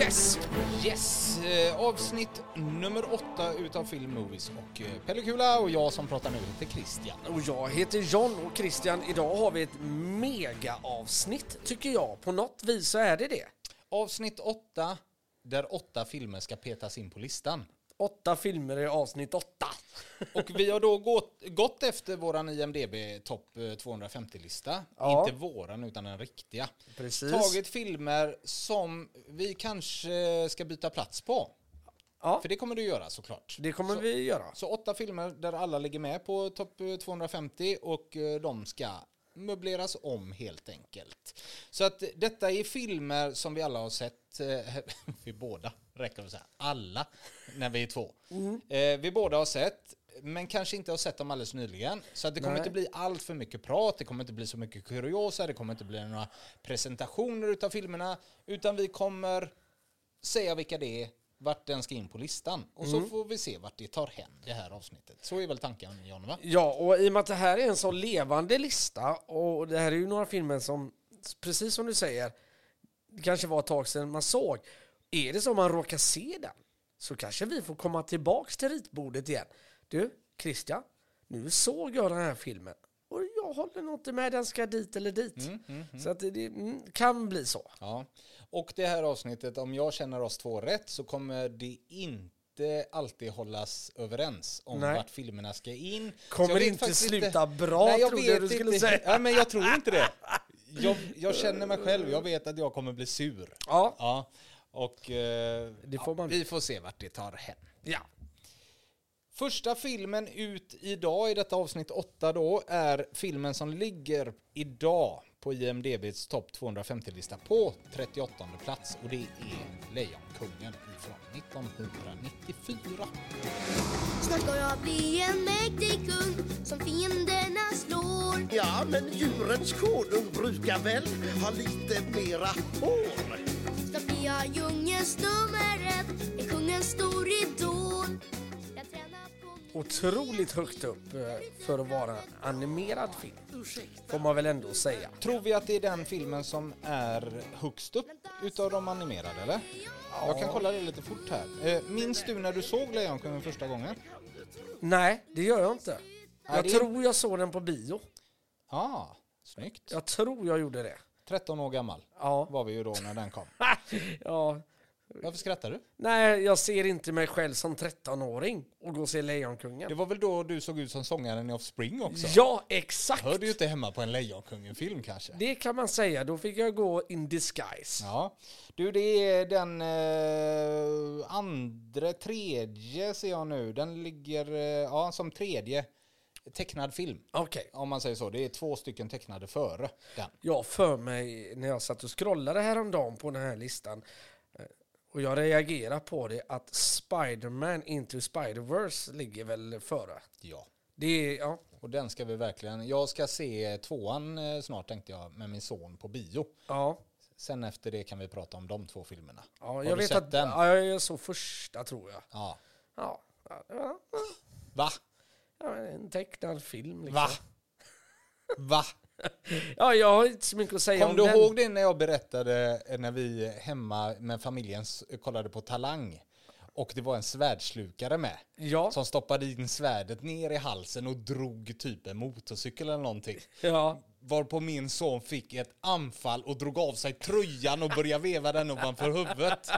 Yes! Yes! Eh, Avsnitt nummer åtta utav Film Movies och eh, Pelle Kula och jag som pratar nu heter Christian. Och jag heter John och Christian. Idag har vi ett megaavsnitt tycker jag. På något vis så är det det. Avsnitt åtta, där åtta filmer ska petas in på listan. Åtta filmer i avsnitt åtta. Och vi har då gått, gått efter våran IMDB topp eh, 250-lista. Ja. Inte våran utan den riktiga. Precis. Tagit filmer som vi kanske ska byta plats på. Ja, För det kommer du göra såklart. det kommer vi göra. Så åtta filmer där alla ligger med på topp eh, 250 och eh, de ska möbleras om helt enkelt. Så att eh, detta är filmer som vi alla har sett, eh, vi båda, räcker att säga, alla, när vi är två. Eh, vi båda har sett, men kanske inte har sett dem alldeles nyligen. Så att det kommer Nej. inte bli allt för mycket prat, det kommer inte bli så mycket kuriosa, det kommer inte bli några presentationer utav filmerna, utan vi kommer säga vilka det är, vart den ska in på listan. Och så Mm. får vi se vart det tar hän det här avsnittet. Så är väl tanken, John, va? Ja, och i och med att det här är en så levande lista och det här är ju några filmer som, precis som du säger, det kanske var ett tag sedan man såg. Är det så man råkar se den så kanske vi får komma tillbaks till ritbordet igen. Du, Christian, nu såg jag den här filmen och jag håller nog inte med den ska dit eller dit. Så att det, det mm, kan bli så. Ja. Och det här avsnittet, om jag känner oss två rätt, så kommer det inte alltid hållas överens om Nej. vart filmerna ska in. Så Kommer jag vet inte faktiskt sluta bra, trodde jag du skulle säga. Ja, men jag tror inte det. Jag, jag känner mig själv, jag vet att jag kommer bli sur. Ja, Ja. Och eh, Det får ja, man- vi får se vart det tar hän. ja. Första filmen ut idag i detta avsnitt 8 då är filmen som ligger idag på IMDBs topp 250-lista på 38 plats och det är Lejonkungen från 1994. Snart ska jag bli en mäktig kung som fienderna slår. Ja, men djurens konung brukar väl ha lite mera hår? Snart blir jag djungelns nummer ett, är kungens stor idol. Jag tränar på Otroligt högt upp eh, för att vara en animerad film. Får man väl ändå säga. Tror vi att det är den filmen som är högst upp utav de animerade eller? Jag kan kolla det lite fort här. Eh, Minns du när du såg Lejonkungen första gången? Nej, det gör jag inte. jag det- tror jag såg den på bio. Ja, ah, snyggt. Jag tror jag gjorde det. 13 år gammal Ja. var vi ju då när den kom. ja. Varför skrattar du? Nej, jag ser inte mig själv som 13-åring och gå och se Det Lejonkungen. var väl då du såg ut som sångaren i Offspring också? Ja, exakt! Hör du ju inte hemma på en Lejonkungen-film kanske? Det kan man säga. Då fick jag gå in disguise. Ja. Du, det är den eh, andra, tredje ser jag nu. Den ligger, eh, ja, som tredje tecknad film. Okej. Om man säger så. Det är två stycken tecknade före den. Jag för mig när jag satt och scrollade häromdagen på den här listan eh, och jag reagerar på det att Spider-Man Into Spider-Verse ligger väl före. Ja. Det är, ja, Och den ska vi verkligen... Jag ska se tvåan eh, snart tänkte jag med min son på bio. ja. Sen efter det kan vi prata om de två filmerna. ja Har jag du vet sett att, den? Ja, jag såg första tror jag. Ja. Ja, ja, ja, Va? ja, en tecknad film liksom. Va? Va? Ja, jag har inte så mycket att säga Kom om du den. ihåg det när jag berättade eh, när vi hemma med familjen s- kollade på Talang? Och det var en svärdslukare med. Ja. Som stoppade in svärdet ner i halsen och drog typ en motorcykel eller någonting. Ja. Varpå min son fick ett anfall och drog av sig tröjan och började veva den ovanför huvudet.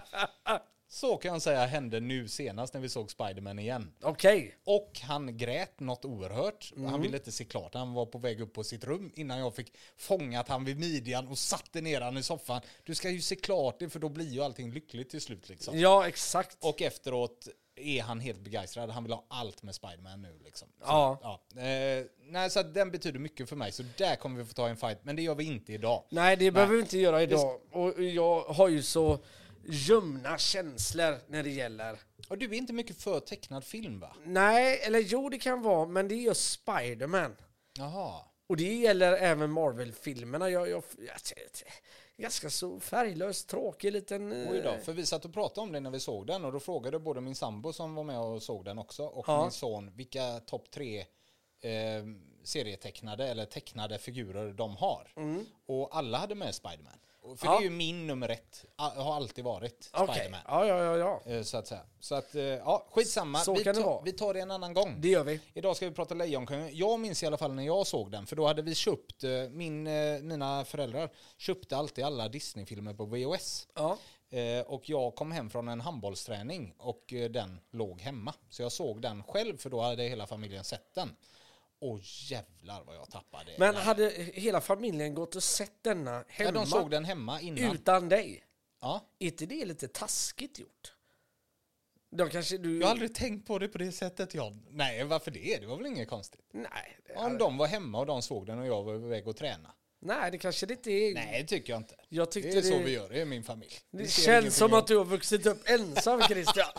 Så kan jag säga hände nu senast när vi såg Spiderman igen. Okej. Och han grät något oerhört. Mm. Han ville inte se klart. Han var på väg upp på sitt rum innan jag fick fångat han vid midjan och satte ner han i soffan. Du ska ju se klart det för då blir ju allting lyckligt till slut liksom. Ja, exakt. Och efteråt är han helt begeistrad. Han vill ha allt med Spiderman nu liksom. Så, Ja. ja. Eh, nej, så att den betyder mycket för mig. Så där kommer vi få ta en fight. Men det gör vi inte idag. Nej, det behöver vi inte göra idag. Och jag har ju så ljumna känslor när det gäller... Och du är inte mycket för tecknad film va? Nej, eller jo det kan vara, men det är just Spiderman. Jaha. Och det gäller även Marvel-filmerna. Jag, jag, jag, ganska så färglös, tråkig liten... eh, Oj då, för vi satt och pratade om det när vi såg den och då frågade både min sambo som var med och såg den också och Ja. min son vilka topp tre eh, serietecknade eller tecknade figurer de har. Och alla hade med Spiderman. Och För Mm. Ja. det är ju min nummer ett. A- Har alltid varit Okej, Spiderman. ja, ja, ja, ja. Eh, Så att säga. Så att, eh, ja, skitsamma. Så vi, kan det tar- vara. vi tar det en annan gång. Det gör vi. Idag ska vi prata Lejonkungen. Jag minns i alla fall när jag såg den, för då hade vi köpt, eh, min, eh, mina föräldrar köpte alltid alla Disney-filmer på VHS. Ja. Eh, Och jag kom hem från en handbollsträning och eh, den låg hemma. Så jag såg den själv, för då hade hela familjen sett den. Och jävlar vad jag tappade. Men hade hela familjen gått och sett denna ja, hemma de såg den hemma innan. utan dig? Ja. Är inte det lite taskigt gjort? De kanske du... Jag har aldrig tänkt på det på det sättet, John. Nej, varför det? Det var väl inget konstigt? Nej, det Om de var hemma och de såg den och jag var iväg och träna. Nej, det kanske det inte är. Nej, det tycker jag inte. Jag det tyckte är det, så vi gör i min familj. det Vi ser känns ingenting som annat. att du har vuxit upp ensam, Christian.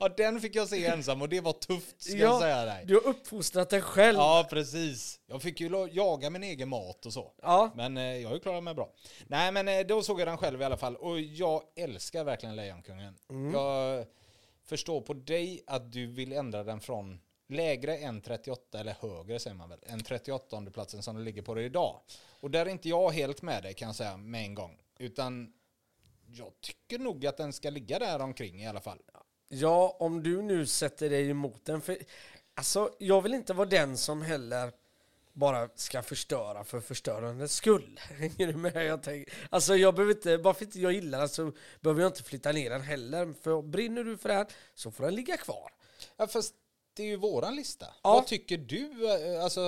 Ja, den fick jag se ensam och det var tufft, ska jag säga dig. Du har uppfostrat dig själv. Ja, precis. Jag fick ju lo- jaga min egen mat och så. Ja. Men eh, jag har ju klarat mig bra. Nej, men eh, då såg jag den själv i alla fall. Och jag älskar verkligen Lejonkungen. Jag förstår på dig att du vill ändra den från lägre än 38, eller högre säger man väl, än 38 platsen som det ligger på det idag. Och där är inte jag helt med dig kan jag säga med en gång. Utan jag tycker nog att den ska ligga där omkring i alla fall. Ja, om du nu sätter dig emot den. För, alltså, jag vill inte vara den som heller bara ska förstöra för förstörandets skull. Hänger du med? Jag tänker, alltså jag behöver inte, bara för att jag gillar den så behöver jag inte flytta ner den heller. För brinner du för den så får den ligga kvar. Ja, fast det är ju våran lista. Ja. Vad tycker du? eh, Alltså,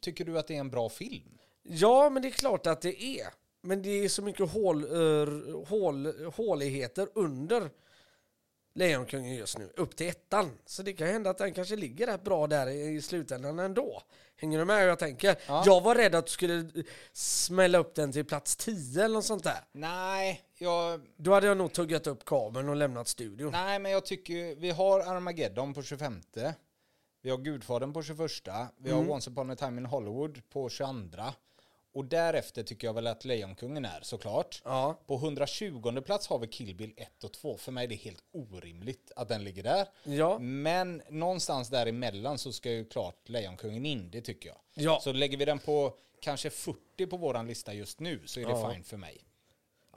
tycker du att det är en bra film? Ja, men det är klart att det är. Men det är så mycket hål, eh, hål, håligheter under Lejonkungen just nu, upp till ettan. Så det kan hända att den kanske ligger rätt bra där i i slutändan ändå. Hänger du med hur jag tänker? Ja. Jag var rädd att du skulle smälla upp den till plats 10 eller något sånt där. Nej, jag, Då hade jag nog tuggat upp kabeln och lämnat studion. nej, men jag tycker ju- vi har Armageddon på 25. Vi har Gudfadern på 21. Vi har Mm. Once upon a time in Hollywood på 22. Och därefter tycker jag väl att Lejonkungen är såklart. Ja. På 120 plats har vi Kill Bill 1 och 2. För mig är det helt orimligt att den ligger där. Ja. Men någonstans däremellan så ska ju klart Lejonkungen in, det tycker jag. Ja. Så lägger vi den på kanske 40 på våran lista just nu så är det Ja. fine för mig.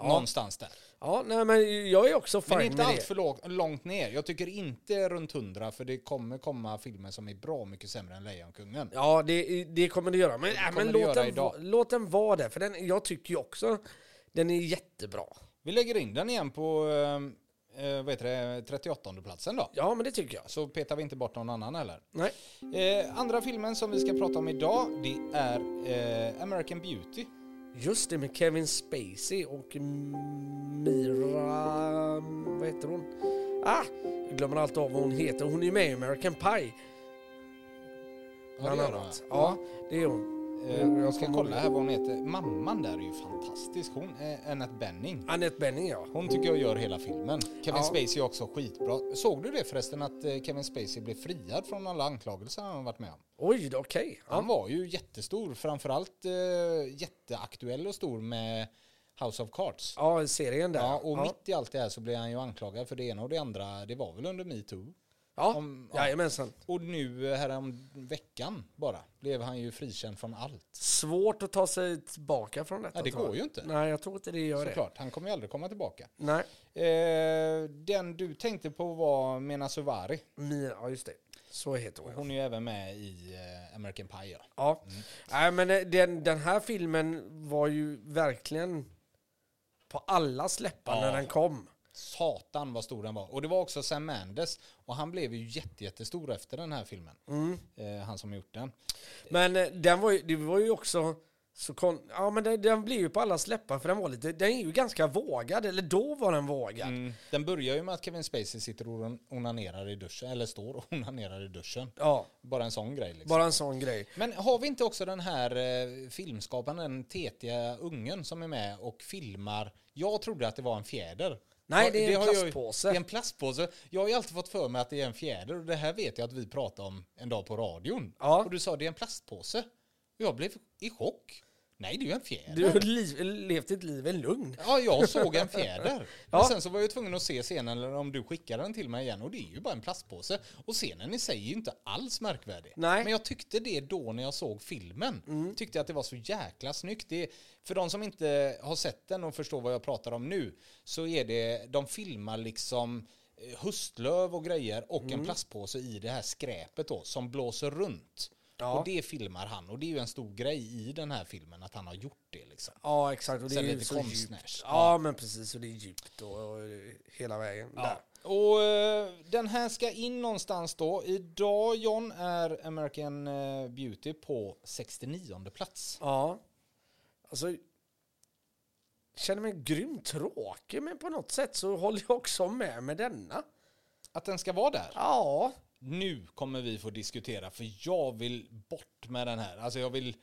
Någonstans där. Ja, nej men jag är också fine Men inte med allt det. för låg, långt ner. Jag tycker inte runt 100 för det kommer komma filmer som är bra mycket sämre än Lejonkungen. Ja, det, det kommer det göra. Men, äh, kommer men det låt, göra den, idag. va- låt den vara där, för den, jag tycker ju också den är jättebra. Vi lägger in den igen på eh, eh, vad heter det, 38 platsen då. Ja, men det tycker jag. Så petar vi inte bort någon annan heller. Nej. Eh, andra filmen som vi ska prata om idag det är eh, American Beauty. Just det, med Kevin Spacey och Mira... Vad heter hon? Ah, jag glömmer alltid av vad hon heter. Hon är ju med i American Pie. Ja, det Bland gör den, annat. Ja, va? det är hon. Eh, jag ska kolla här vad hon heter. Mamman där är ju fantastisk. Hon är Annette Benning. Annette Bening, ja. Hon tycker jag gör hela filmen. Kevin Ja. Spacey är också skitbra. Såg du det förresten att eh, Kevin Spacey blev friad från alla anklagelser han har varit med om? Oj, då, okej. Han Ja. var ju jättestor, framförallt eh, jätteaktuell och stor med House of Cards. ja, serien där. Ja, och ja. mitt i allt det här så blev han ju anklagad för det ena och det andra. Det var väl under metoo. Ja, om- ja. jajamensan. Och nu eh, härom veckan bara blev han ju frikänd från allt. Svårt att ta sig tillbaka från detta. Ja, det tror jag. går ju inte. Nej, jag tror inte det gör det. Såklart, han kommer ju aldrig komma tillbaka. Nej. Eh, den du tänkte på var Mena Suvari. Mira, ja just det. Så heter hon. Hon är ju även med i eh, American Pie. Ja. Ja. Nej, men eh, den, den här filmen var ju verkligen på alla släppar Ja. när den kom. Satan vad stor den var. Och det var också Sam Mendes. Och han blev ju jätte, jättestor efter den här filmen. Eh, han som gjort den. Men eh, den var ju, det var ju också så kon- ja, men den, den blev ju på alla släppar för den var lite, den är ju ganska vågad, eller då var den vågad. Den börjar ju med att Kevin Spacey sitter och onan- onanerar i duschen. Eller står och onanerar i duschen. Ja, Bara en sån grej. Liksom. bara en sån grej. Men har vi inte också den här eh, filmskaparen, den tetiga ungen som är med och filmar? Jag trodde att det var en fjäder. Nej, Ja, det är en har jag ju- plastpåse. det är en plastpåse. Jag har ju alltid fått för mig att det är en fjäder och det här vet jag att vi pratade om en dag på radion. Ja. Och du sa det är en plastpåse. Och Jag blev i chock. Nej, det är ju en fjäder. Du har liv, levt ditt liv i lugn. Ja, jag såg en fjäder. Ja. Men sen så var jag tvungen att se scenen, eller om du skickade den till mig igen, och det är ju bara en plastpåse. Och scenen i sig är ju inte alls märkvärdig. Nej. Mm. Men jag tyckte det då när jag såg filmen. Tyckte att det var så jäkla snyggt. Det, för de som inte har sett den och förstår vad jag pratar om nu, så är det, de filmar liksom eh, höstlöv och grejer och Mm. en plastpåse i det här skräpet då, som blåser runt. Ja. Och det filmar han, och det är ju en stor grej i den här filmen att han har gjort det liksom. Ja, exakt. Och det Sen är ju lite så konstnärs. djupt. Ja, men precis. Och det är djupt och, och eh, hela vägen. Där. Och eh, den här ska in någonstans då. Idag John är American eh, Beauty på 69 plats. Ja. Alltså, jag känner mig grymt tråkig, men på något sätt så håller jag också med med denna. Att den ska vara där. Ja, Nu kommer vi få diskutera för jag vill bort med den här. Alltså jag vill...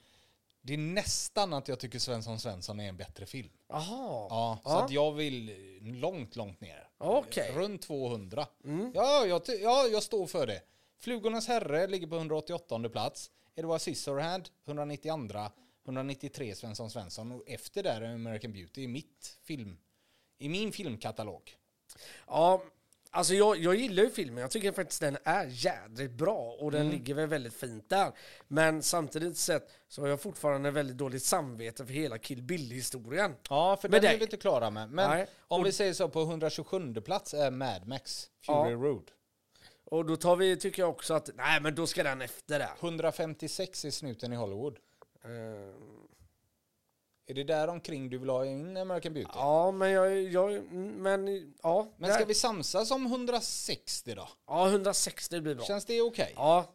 Det är nästan att jag tycker Svensson Svensson är en bättre film. jaha. Ja, så att jag vill eh, långt, långt ner. Okej. Runt 200. Ja, jag, ty- ja, jag står för det. Flugornas herre ligger på 188 plats. Edward Scissorhand 192. 193 Svensson Svensson och efter där är American Beauty i mitt film. I min filmkatalog. Ja, alltså jag, jag gillar ju filmen. Jag tycker faktiskt den är jädrigt bra och den Mm. ligger väl väldigt fint där. Men samtidigt sett så har jag fortfarande väldigt dåligt samvete för hela Kill Bill-historien. Ja, för Med den är dig. vi inte klara med. Men Nej. om vi säger så, på 127 plats är Mad Max Ja. Fury Road. Och då tar vi, tycker jag också att, nej men då ska den efter där. 156 är Snuten i Hollywood. Eh, Är det där omkring du vill ha in American Beauty? ja, men jag, jag mm, men ja. Men där. ska vi samsas om 160 då? Ja, 160 blir bra. Känns det okej? Ja,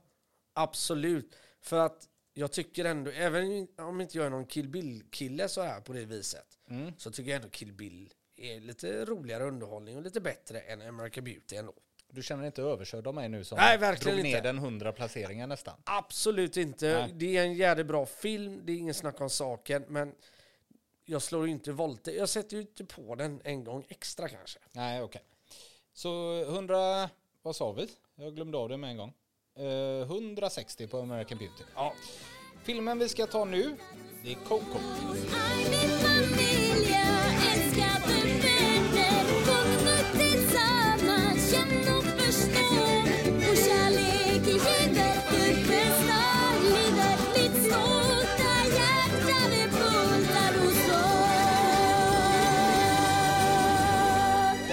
absolut. För att jag tycker ändå, även om inte jag är någon Kill Bill-kille så här på det viset, så tycker jag ändå Kill Bill är lite roligare underhållning och lite bättre än American Beauty ändå. Du känner dig inte överkörd av mig nu som Nej, verkligen drog ner inte. den 100 placeringen nästan? Absolut inte. Nej. Det är en jävligt bra film, det är ingen snack om saken, men jag slår ju inte volter. Jag sätter ju inte på den en gång extra kanske. Nej, okej. Så 100, vad sa vi? Jag glömde av det med en gång. Eh, 160 på American Beauty. Ja, Filmen vi ska ta nu, det är Coco.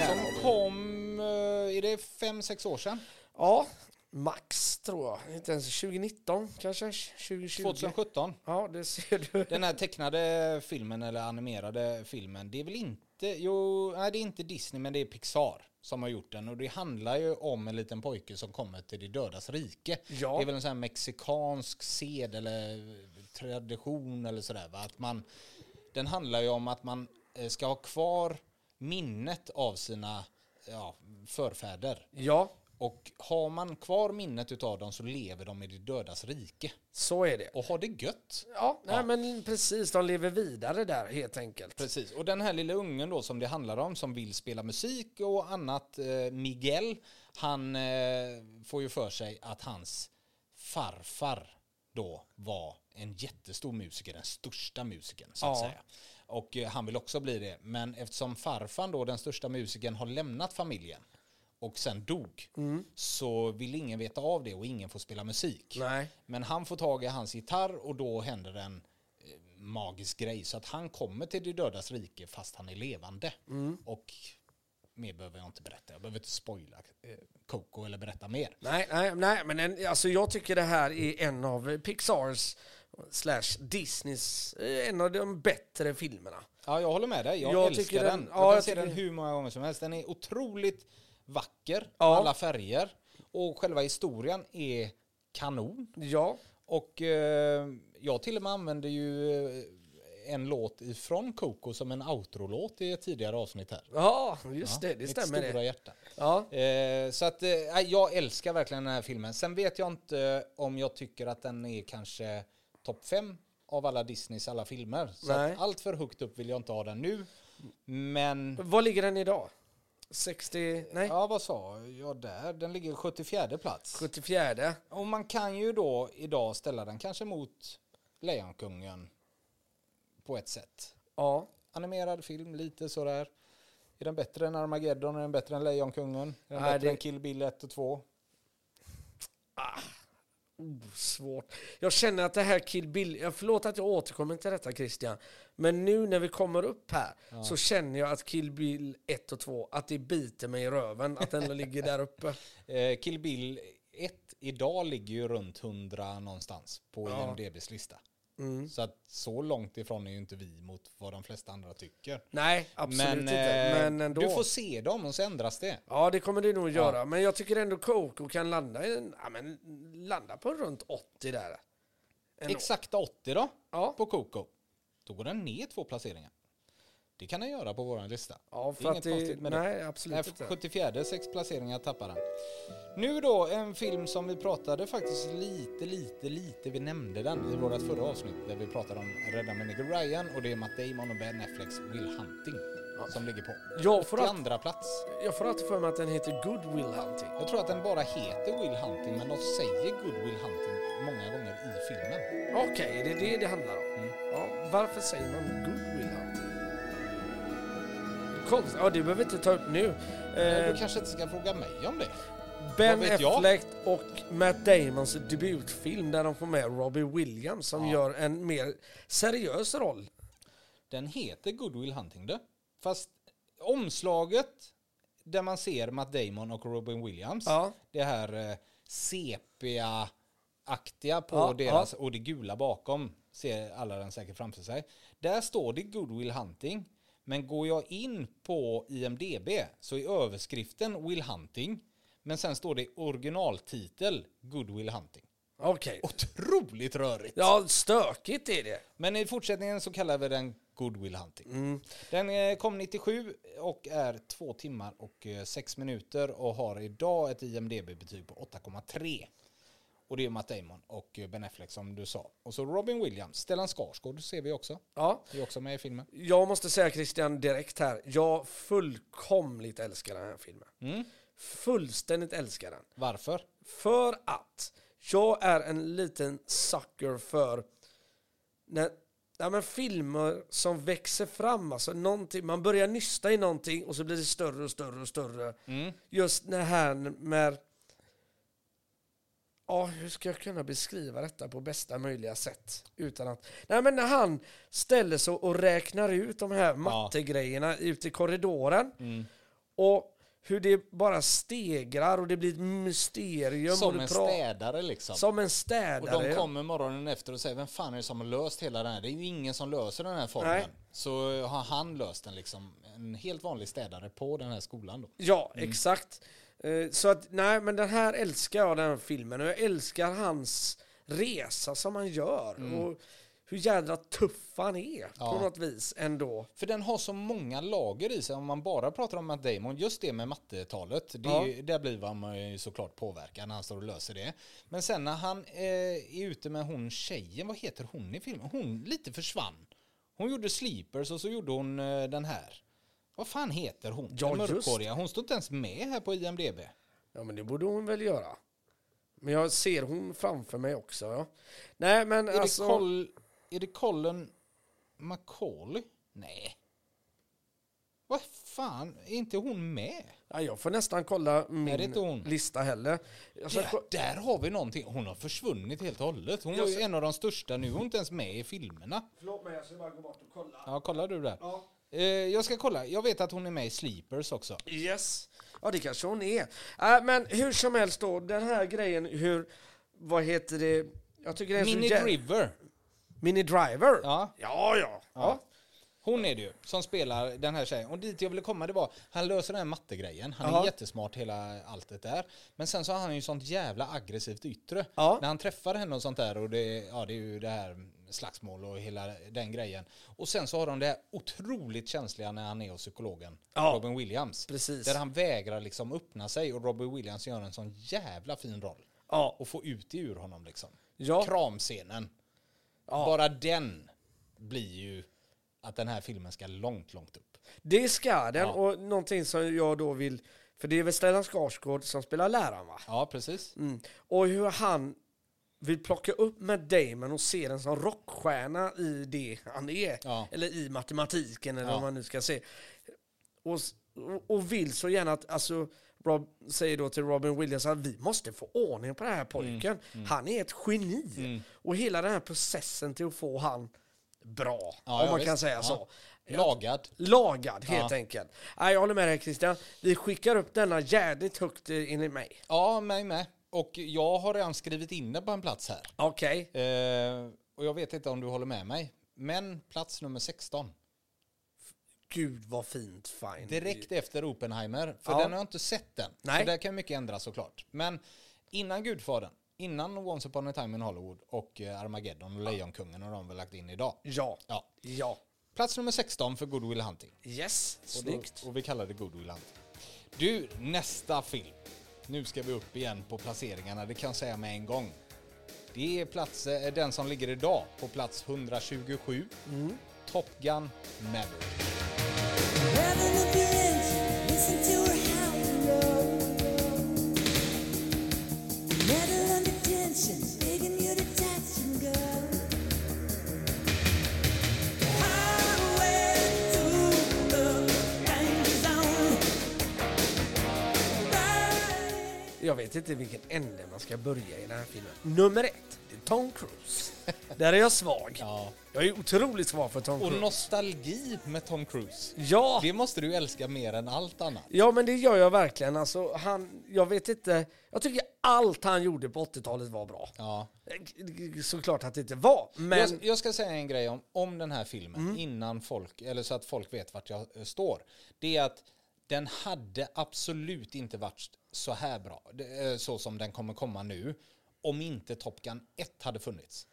Som kom, eh, är det 5-6 år sedan? ja max tror jag. Inte ens 2019 kanske, 2020. 2017. Ja, det ser du. Den här tecknade filmen eller animerade filmen, det är väl inte, jo, nej det är inte Disney men det är Pixar som har gjort den och det handlar ju om en liten pojke som kommer till det dödas rike. Ja. Det är väl en sån här mexikansk sed eller tradition eller sådär va? Att man, den handlar ju om att man eh, ska ha kvar minnet av sina ja, förfäder. Ja, Och har man kvar minnet utav dem så lever de i det dödas rike. så är det. Och har det gött. Ja, nej, men precis. De lever vidare där helt enkelt. Precis, och den här lilla ungen då som det handlar om som vill spela musik och annat, eh, Miguel, han eh, får ju för sig att hans farfar då var en jättestor musiker, den största musikern så att Ja. säga. Och eh, han vill också bli det, men eftersom farfan då, den största musikern, har lämnat familjen och sen dog, så vill ingen veta av det och ingen får spela musik. Nej. Men han får tag i hans gitarr och då händer en eh, magisk grej. Så att han kommer till det dödas rike fast han är levande. Och mer behöver jag inte berätta. Jag behöver inte spoila eh, Coco eller berätta mer. Nej, nej, nej, men en, alltså jag tycker det här är en av Pixars slash Disneys, eh, en av de bättre filmerna. Ja, jag håller med dig. Jag, Jag älskar tycker den. den- Jag ja, kan jag se den tycker- hur många gånger som helst. Den är otroligt vacker. Ja. Alla färger. Och själva historien är kanon. Ja, Och eh, jag till och med använde ju eh, en låt ifrån Coco som en outro-låt i ett tidigare avsnitt här. ja just det, det Mitt stämmer stora det. hjärta. Ja. Eh, så att eh, jag älskar verkligen den här filmen. Sen vet jag inte eh, om jag tycker att den är kanske topp fem av alla Disneys alla filmer. Så Nej. att allt för högt upp vill jag inte ha den nu. Men, Var ligger den idag? 60, nej, ja vad sa jag där? Den ligger 74 plats. 74. Och man kan ju då idag ställa den kanske mot Lejonkungen. på ett sätt. Ja. Animerad film, lite sådär. Är den bättre än Armageddon? Är den bättre än Lejonkungen? Är den Nej, bättre det- än Kill Bill 1 och 2? Oh, svårt. Jag känner att det här Kill Bill... ja, Förlåt att jag återkommer till detta Christian. Men nu när vi kommer upp här så känner jag att Kill Bill 1 och 2, att det biter mig i röven att den ligger där uppe. Eh, Kill Bill 1 idag ligger ju runt 100 någonstans på Ja. IMDBs lista. Så att så långt ifrån är ju inte vi mot vad de flesta andra tycker. Nej, absolut Men, inte. eh, Men ändå. du får se dem och så ändras det. Ja, det kommer det nog göra. Men jag tycker ändå Coco kan landa, i en, ja, men, landa på runt 80 där. Ändå. Exakta 80 då, Ja. på Coco. Då går den ner två placeringar. Det kan den göra på vår lista. Ja, Det är för att inget det, konstigt med det. nej, absolut Nej, inte. 74, sex placeringar tappar den. Nu då, en film som vi pratade faktiskt lite, lite, lite, vi nämnde den i vårt förra avsnitt där vi pratade om Rädda med Nigger Ryan och det är Matt Damon och Ben Afflecks Will Hunting som ligger på Jag får, all, 82 plats. jag får alltid för mig att den heter Good Will Hunting. Jag tror att den bara heter Will Hunting men de säger Good Will Hunting många gånger i filmen. Okej, det är det det handlar om. Mm. Ja, varför säger man Good Will Hunting? Konstigt. Ja, det behöver vi inte ta upp nu. Du Eh, kanske inte ska fråga mig om det? ben vad vet jag? Affleck och Matt Damons debutfilm där de får med Robbie Williams som gör en mer seriös roll. Den heter Good Will Hunting du. Fast omslaget där man ser Matt Damon och Robin Williams. Ja. Det här eh, sepia-aktiga på Ja, deras och det gula bakom ser alla den säkert framför sig. Där står det Good Will Hunting. Men går jag in på IMDB så är överskriften Will Hunting. Men sen står det originaltitel Good Will Hunting. Okej. Otroligt rörigt. Ja, stökigt är det. Men i fortsättningen så kallar vi den Goodwill Hunting. Mm. Den eh, kom 97 och är två timmar och eh, sex minuter och har idag ett IMDB-betyg på 8,3. Och det är Matt Damon och eh, Ben Affleck som du sa. Och så Robin Williams, Stellan Skarsgård ser vi också. Ja. Det är också med i filmen. Jag måste säga Christian direkt här, jag fullkomligt älskar den här filmen. Mm. Fullständigt älskar den. Varför? För att jag är en liten sucker för när, ja, men filmer som växer fram. Alltså någonting, man börjar nysta i någonting och så blir det större och större och större. Just när här med... Ja, hur ska jag kunna beskriva detta på bästa möjliga sätt? Utan att... Nej, men när han ställer sig och räknar ut de här mattegrejerna ute i korridoren. Och hur det bara stegrar och det blir ett mysterium. och Som det en pra- städare liksom. Som en och städare. de ja. kommer morgonen efter och säger vem fan är det som har löst hela den här? Det är ju ingen som löser den här formen. Nej. Så har han löst den liksom. En helt vanlig städare på den här skolan då. Ja, exakt. Eh, Så att, nej, men den här älskar jag, den här filmen. Och jag älskar hans resa som han gör. Och hur jädra tuff han är på Mm. Ja. något vis ändå. För den har så många lager i sig om man bara pratar om Matt Damon. Just det med mattetalet, det Ja. är ju, där blir man ju såklart påverkad när han står och löser det. Men sen när han eh, är ute med hon tjejen, vad heter hon i filmen? Hon lite försvann. Hon gjorde Sleepers och så gjorde hon eh, den här. Vad fan heter hon? Ja, Den just mörkhåriga. Hon står inte ens med här på IMDB. Ja, men det borde hon väl göra. Men jag ser hon framför mig också. Ja. Nej, men Är, alltså... det Col- är det Colin McCauley? Nej. Vad fan, är inte hon med? ja, jag får nästan kolla min det är inte hon. lista heller. Jag ska ko- Där, där har vi någonting. Hon har försvunnit helt och hållet. Hon var ju en av de största. Nu är hon inte ens med i filmerna. Förlåt mig, jag ska bara gå bort och kolla. Ja, kollar du där? Ja. Eh, jag ska kolla. Jag vet att hon är med i Sleepers också. Yes. Ja, det kanske hon är. Äh, men hur som helst då, den här grejen hur... Vad heter det? Jag tycker det är så Minnie jä- Driver. Mini Driver? Ja. Ja, ja. ja. Hon är det ju, som spelar den här tjejen. Och dit jag ville komma, det var, han löser den här mattegrejen. Han Ja. är jättesmart hela allt det där. Men sen så har han ju sånt jävla aggressivt yttre. Ja. När han träffar henne och sånt där och det, ja, det är ju det här slagsmål och hela den grejen. Och sen så har de det här otroligt känsliga när han är hos psykologen, Ja. Robin Williams. Precis. Där han vägrar liksom öppna sig och Robin Williams gör en sån jävla fin roll. Ja. Och få ut det ur honom liksom. Ja. Kramscenen. Bara den blir ju att den här filmen ska långt, långt upp. Det ska den. Och någonting som jag då vill... Mm. För det är väl Stellan Skarsgård som spelar läraren, va? Ja, precis. Och hur han vill plocka upp Matt Damon och se den som rockstjärna i det han är. Ja. Eller i matematiken eller Ja. vad man nu ska se. Och, s- och- och vill så gärna att, alltså, Rob säger då till Robin Williams att vi måste få ordning på den Mm. här pojken. Han är ett geni. Och hela den här processen till att få han bra, Ja, om ja, man kan visst. säga Ja. så. Lagad. Lagad helt Ja. enkelt. Nej, jag håller med dig Christian. Vi skickar upp denna jävligt högt eh, enligt mig. Ja, mig med. Och jag har redan skrivit in det på en plats här. Okej. Eh, och jag vet inte om du håller med mig. Men plats nummer 16. Gud vad fint fine. Direkt efter Oppenheimer. För Ja. den har jag inte sett än. Nej. Så där kan mycket ändras såklart. Men innan Gudfadern, innan Once upon a time in Hollywood och eh, Armageddon och Lejonkungen har de väl lagt in idag. Ja. Ja. Ja. Plats nummer 16 för Goodwill Hunting. Yes. Snyggt. Och vi kallar det Goodwill Hunting. Du, nästa film. Nu ska vi upp igen på placeringarna, det kan jag säga med en gång. Det är plats, eh, den som ligger idag på plats 127. Top Gun Maverick. Jag vet inte vilken ände man ska börja i den här filmen. Nummer ett, det är Tom Cruise. Där är jag svag. Ja. Jag är otroligt svag för Tom Och Cruise. nostalgi med Tom Cruise. Mm. ja. Det måste du älska mer än allt annat. ja, men det gör jag verkligen. Alltså, han, jag vet inte. Jag tycker allt han gjorde på 80-talet var bra. Eh, Ja. Såklart att det inte var, men... Jag, jag ska säga en grej om, om den här filmen innan folk, eller så att folk vet vart jag eh, står. Det är att den hade absolut inte varit så här bra, det, eh, så som den kommer komma nu, om inte Top Gun 1 hade funnits.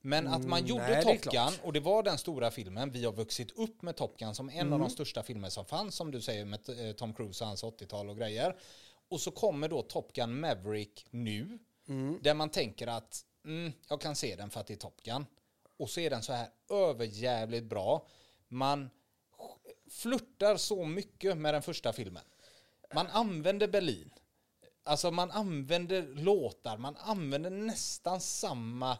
Men att man gjorde Mm, nej, det är Top Gun, och det var den stora filmen, vi har vuxit upp med Top Gun som en av Mm. de största filmer som fanns, som du säger med eh, Tom Cruise och hans 80-tal och grejer. Och så kommer då Top Gun Maverick nu, Mm. där man tänker att mm, jag kan se den för att det är Top Gun. Och så är den så här överjävligt bra. Man flörtar så mycket med den första filmen. Man använder Berlin. Alltså man använder låtar, man använder nästan samma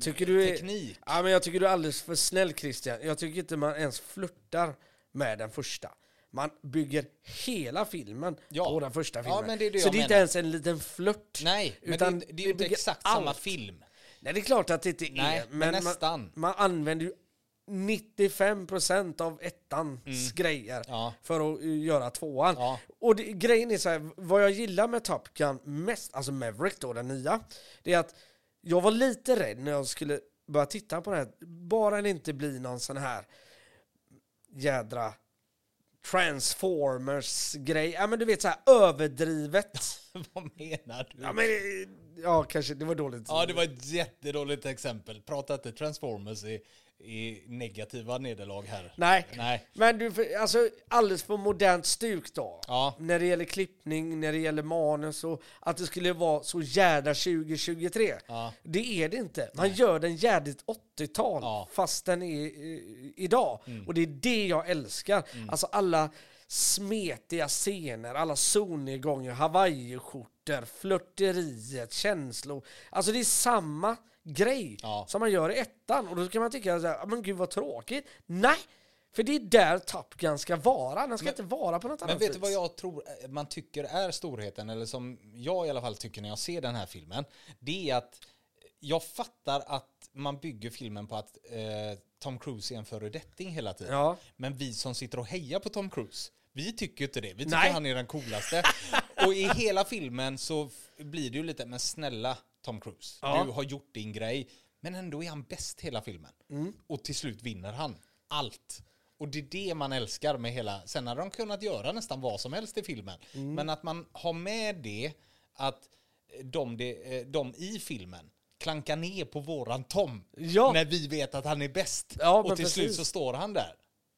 Tycker du är, filmteknik. ja, men jag tycker du är alldeles för snäll Christian. Jag tycker inte man ens flörtar med den första. Man bygger hela filmen Ja. på den första Ja, filmen. men det är det så jag det är inte menar. ens en liten flört. Nej, men utan det, det är vi ju inte bygger exakt allt. samma film. Nej, det är klart att det inte Nej, är. men Man, nästan. man använder ju 95% av ettans grejer Mm. Ja. för att eh, göra tvåan. Ja. Och det, grejen är så här, vad jag gillar med Top Gun mest, alltså Maverick då, den nya, det är att jag var lite rädd när jag skulle börja titta på det här, bara det inte blir någon sån här jädra Transformers-grej. Ja men du vet så här överdrivet. Vad menar du? ja Ja, men, eh, ja kanske, det var dåligt. det var ett jättedåligt exempel. Prata inte Transformers i, i negativa nederlag här. Nej. Nej. Men du, för- alltså alldeles för modernt stuk då. Ja. När det gäller klippning, när det gäller manus och att det skulle vara så jädra 2023. Ja. Det är det inte. Man gör den jädrigt 80-tal Ja. Mm. fast den är eh, idag. Och det är det jag älskar. Alltså alla smetiga scener, alla solnedgångar, hawaiiskjortor, flörteriet, känslor. Alltså det är samma grej Ja. som man gör i ettan. Och då kan man tycka så här, "Ah, men gud vad tråkigt. Nej! För det är där Top Gun ska vara. Den ska inte vara på något annat Men vet vis. du vad jag tror eh, man tycker är storheten, eller som jag i alla fall tycker när jag ser den här filmen, det är att jag fattar att man bygger filmen på att eh, Tom Cruise är en föredetting hela tiden. Ja. Men vi som sitter och hejar på Tom Cruise, vi tycker ju inte det. Vi tycker Nej. han är den coolaste. och i hela filmen så f- blir det ju lite, men snälla Tom Cruise, Ja. du har gjort din grej. Men ändå är han bäst hela filmen. Mm. Och till slut vinner han allt. Och det är det man älskar med hela... Sen hade de kunnat göra nästan vad som helst i filmen. Mm. Men att man har med det att de, de, de i filmen klankar ner på våran Tom. Ja. När vi vet att han är bäst. Ja, men och till slut precis. så står han där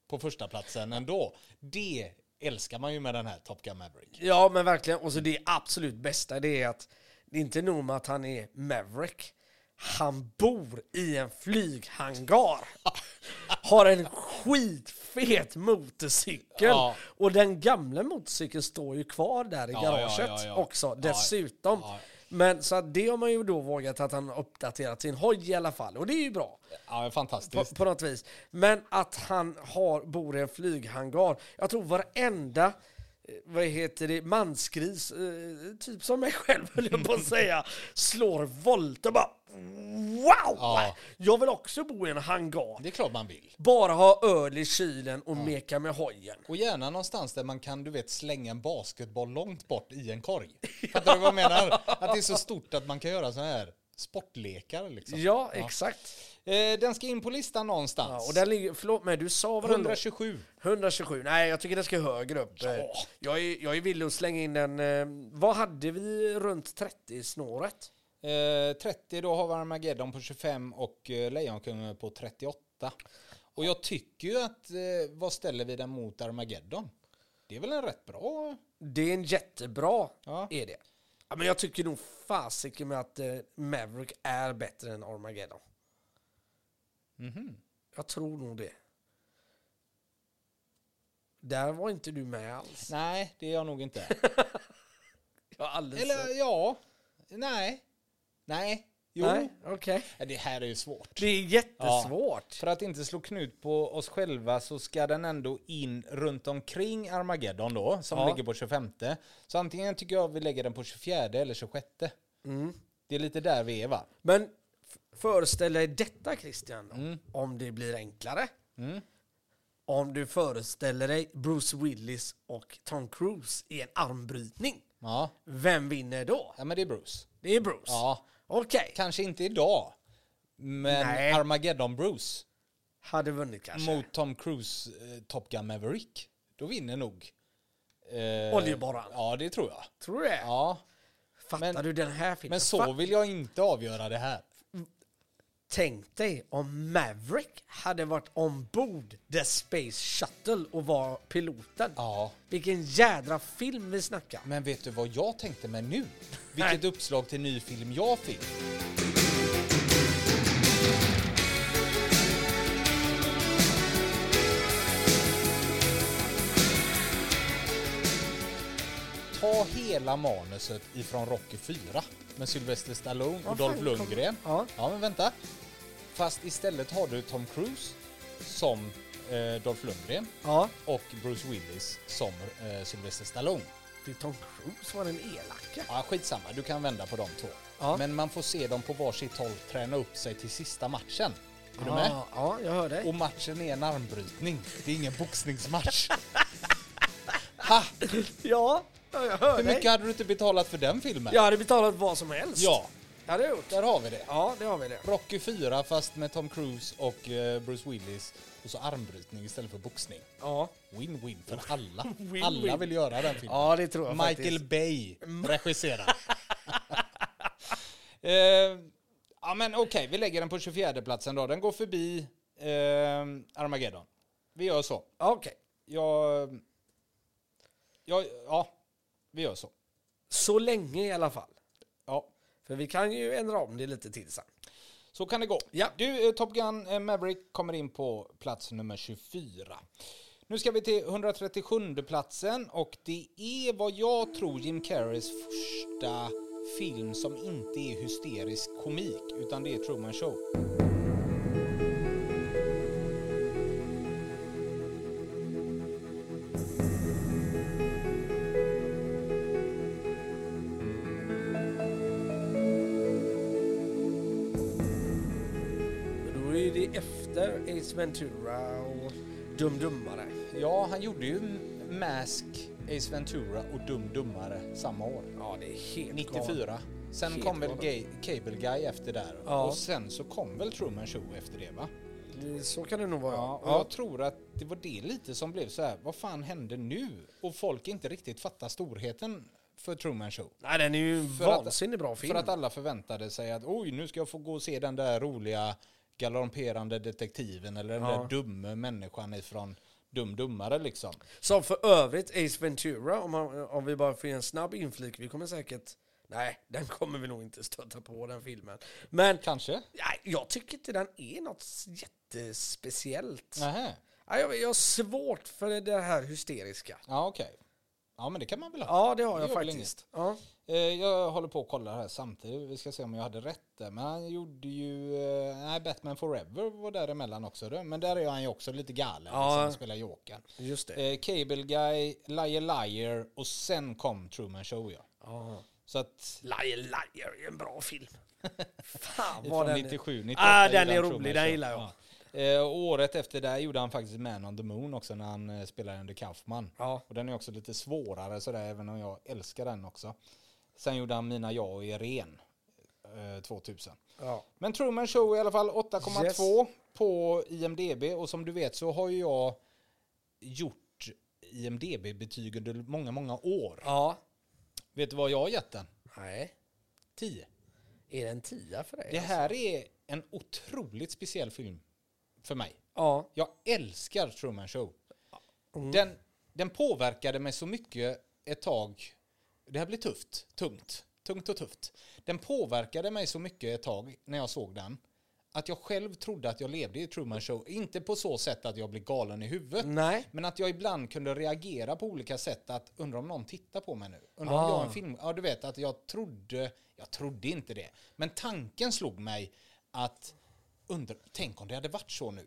på första platsen ändå. Det älskar man ju med den här Top Gun Maverick. Ja, men verkligen. Och så det absolut bästa det är att det är inte nog med att han är Maverick. Han bor i en flyghangar. Har en skitfet motorcykel. Ja. Och den gamla motorcykeln står ju kvar där i Ja, garaget ja, ja, ja. också Ja. dessutom. Ja. Men så att det har man ju då vågat att han har uppdaterat sin hoj i alla fall. Och det är ju bra. Ja, På, fantastiskt. på något vis. Men att han har, bor i en flyghangar. Jag tror varenda eh, vad heter det, mansgris, eh, typ som mig själv höll jag på att säga, slår volter bara wow! Ja. Jag vill också bo i en hangar. Det är klart man vill. Bara ha öl i kylen och meka med hojen. Och gärna någonstans där man kan, du vet, slänga en basketboll långt bort i en korg. Fattar du vad jag menar? Att det är så stort att man kan göra sådana här sportlekar liksom. Ja, exakt. Eh, den ska in på listan någonstans. Ja, och den ligger, förlåt mig, du sa vad den låg. 127. 127. Nej, jag tycker den ska högre upp. Eh, Jag, är, jag är villig att slänga in den. eh, Vad hade vi runt 30-snåret? Eh, 30 då har vi Armageddon på 25 och eh, Lejonkungen på 38. Och jag tycker ju att, eh, vad ställer vi den mot Armageddon? Det är väl en rätt bra... Det är en jättebra, Ja. är det. Ja, men jag tycker nog fasiken med att eh, Maverick är bättre än Armageddon. Mhm. Jag tror nog det. Där var inte du med alls. Nej, det är jag nog inte. Jag har aldrig Eller sett- ja, nej. Nej, jo. Nej, okej. Ja, Det här är ju svårt. Det är jättesvårt. För att inte slå knut på oss själva så ska den ändå in runt omkring Armageddon då, som Ja. ligger på 25. Så antingen tycker jag vi lägger den på 24 eller 26. Mm. Det är lite där vi är va? Men f- föreställ dig detta Christian, om det blir enklare. Om du föreställer dig Bruce Willis och Tom Cruise i en armbrytning. Ja. Vem vinner då? ja, men det är Bruce. Det är Bruce. Ja. Okej. Kanske inte idag, men Nej. Armageddon-Bruce Hade vunnit kanske. mot Tom Cruise eh, Top Gun Maverick. Då vinner nog... Eh, Oljeborran. Ja, det tror jag. Tror du det? Ja. Fattar men- du den här filmen? Men Fa- så vill jag inte avgöra det här. Tänk dig om Maverick hade varit ombord The Space Shuttle och var piloten. Ja. Vilken jädra film vi snackar. Men vet du vad jag tänkte med nu? Nej. Vilket uppslag till ny film jag fick. Ta hela manuset ifrån Rocky 4 med Sylvester Stallone och Vad fan Dolph kom- Lundgren. Ja. ja, men vänta. Fast istället har du Tom Cruise som eh, Dolph Lundgren Ja. och Bruce Willis som eh, Sylvester Stallone. Det är Tom Cruise var den elaka. Ja, skitsamma, du kan vända på de två. Ja. Men man får se dem på varsitt håll träna upp sig till sista matchen. Är du med? Ja, ja, jag hör dig. Och matchen är en armbrytning, det är ingen boxningsmatch. ha! Ja, ja, jag hör Hur dig. mycket hade du inte betalat för den filmen? Jag hade betalat vad som helst. Ja, Jag hade gjort. där har vi det. Ja, det har vi det. Rocky 4 fast med Tom Cruise och eh, Bruce Willis och så armbrytning istället för boxning. Ja, Win-win för alla. Win-win. Alla vill göra den filmen. ja det tror jag Michael faktiskt. Bay regisserar. eh, ja, men okej, vi lägger den på 24 platsen då. Den går förbi eh, Armageddon. Vi gör så. Ja, Okej. Jag, jag, ja, vi gör så. Så länge i alla fall. Ja, För vi kan ju ändra om det lite till sen. så kan det gå. Ja. Du, eh, Top Gun eh, Maverick kommer in på plats nummer 24. Nu ska vi till 137 platsen och det är vad jag tror Jim Carreys första film som inte är hysterisk komik utan det är Truman Show. Men då är det efter Ace Ventura och Dum Dummare. Ja, han gjorde ju Mask, Ace Ventura och Dum Dummare samma år. Ja, det är helt 94. Sen Helt kom väl galet. Gay, Cable Guy efter där Ja. och sen så kom väl Truman Show efter det va? galet. Så kan det nog vara. Ja, Ja, och jag tror att det var det lite som blev så här, vad fan hände nu? Och folk inte riktigt fattar storheten för Truman Show. Nej, den är ju en För att- vansinnigt bra film. För att alla förväntade sig att oj, nu ska jag få gå och se den där roliga galopperande detektiven eller den Ja. där dumme människan ifrån Dum Dummare liksom. Som för övrigt Ace Ventura, om, man, om vi bara får ge en snabb inflik, vi kommer säkert... Nej, den kommer vi nog inte stöta på, den filmen. Men Kanske? nej, jag tycker inte den är något jättespeciellt. Nähä. Nej, jag, jag har svårt för det här hysteriska. Ja, okej. Ja, men det kan man väl ha. Ja, det har Det jag gör väl faktiskt. Ja. Eh, jag håller på och kollar här samtidigt. Vi ska se om jag hade rätt där. Men han gjorde ju... Eh, nej, Batman Forever var däremellan också. Då. Men där är han ju också lite galen. Ja. Ja. Sen spelar Jokern. Just det. Eh, Cable Guy, Liar Liar och sen kom Truman Show ja. Ja. Så att... Liar Liar är en bra film. Fan vad Från den 97, 98 Ah, den gjorde är han Truman rolig, den Show. gillar jag. Ja. Eh, och året efter där gjorde han faktiskt Man on the Moon också när han eh, spelade under Kaufman. Ja. Och den är också lite svårare sådär även om jag älskar den också. Sen gjorde han Mina, jag och Irene eh, 2000. Ja. Men Truman Show i alla fall 8,2 Yes. på IMDB och som du vet så har ju jag gjort IMDB-betyg under många, många år. ja. Vet du vad jag har gett den? Nej. 10. Är det en tia för dig? Det här är en otroligt speciell film för mig. Ja. Jag älskar Truman Show. Den, den påverkade mig så mycket ett tag. Det här blir tufft, tungt, tungt och tufft. Den påverkade mig så mycket ett tag när jag såg den att jag själv trodde att jag levde i Truman Show. Inte på så sätt att jag blev galen i huvudet. Nej. Men att jag ibland kunde reagera på olika sätt att undra om någon tittar på mig nu. Undrar om jag är en film... Ja, du vet att jag trodde... Jag trodde inte det. Men tanken slog mig att undra, tänk om det hade varit så nu.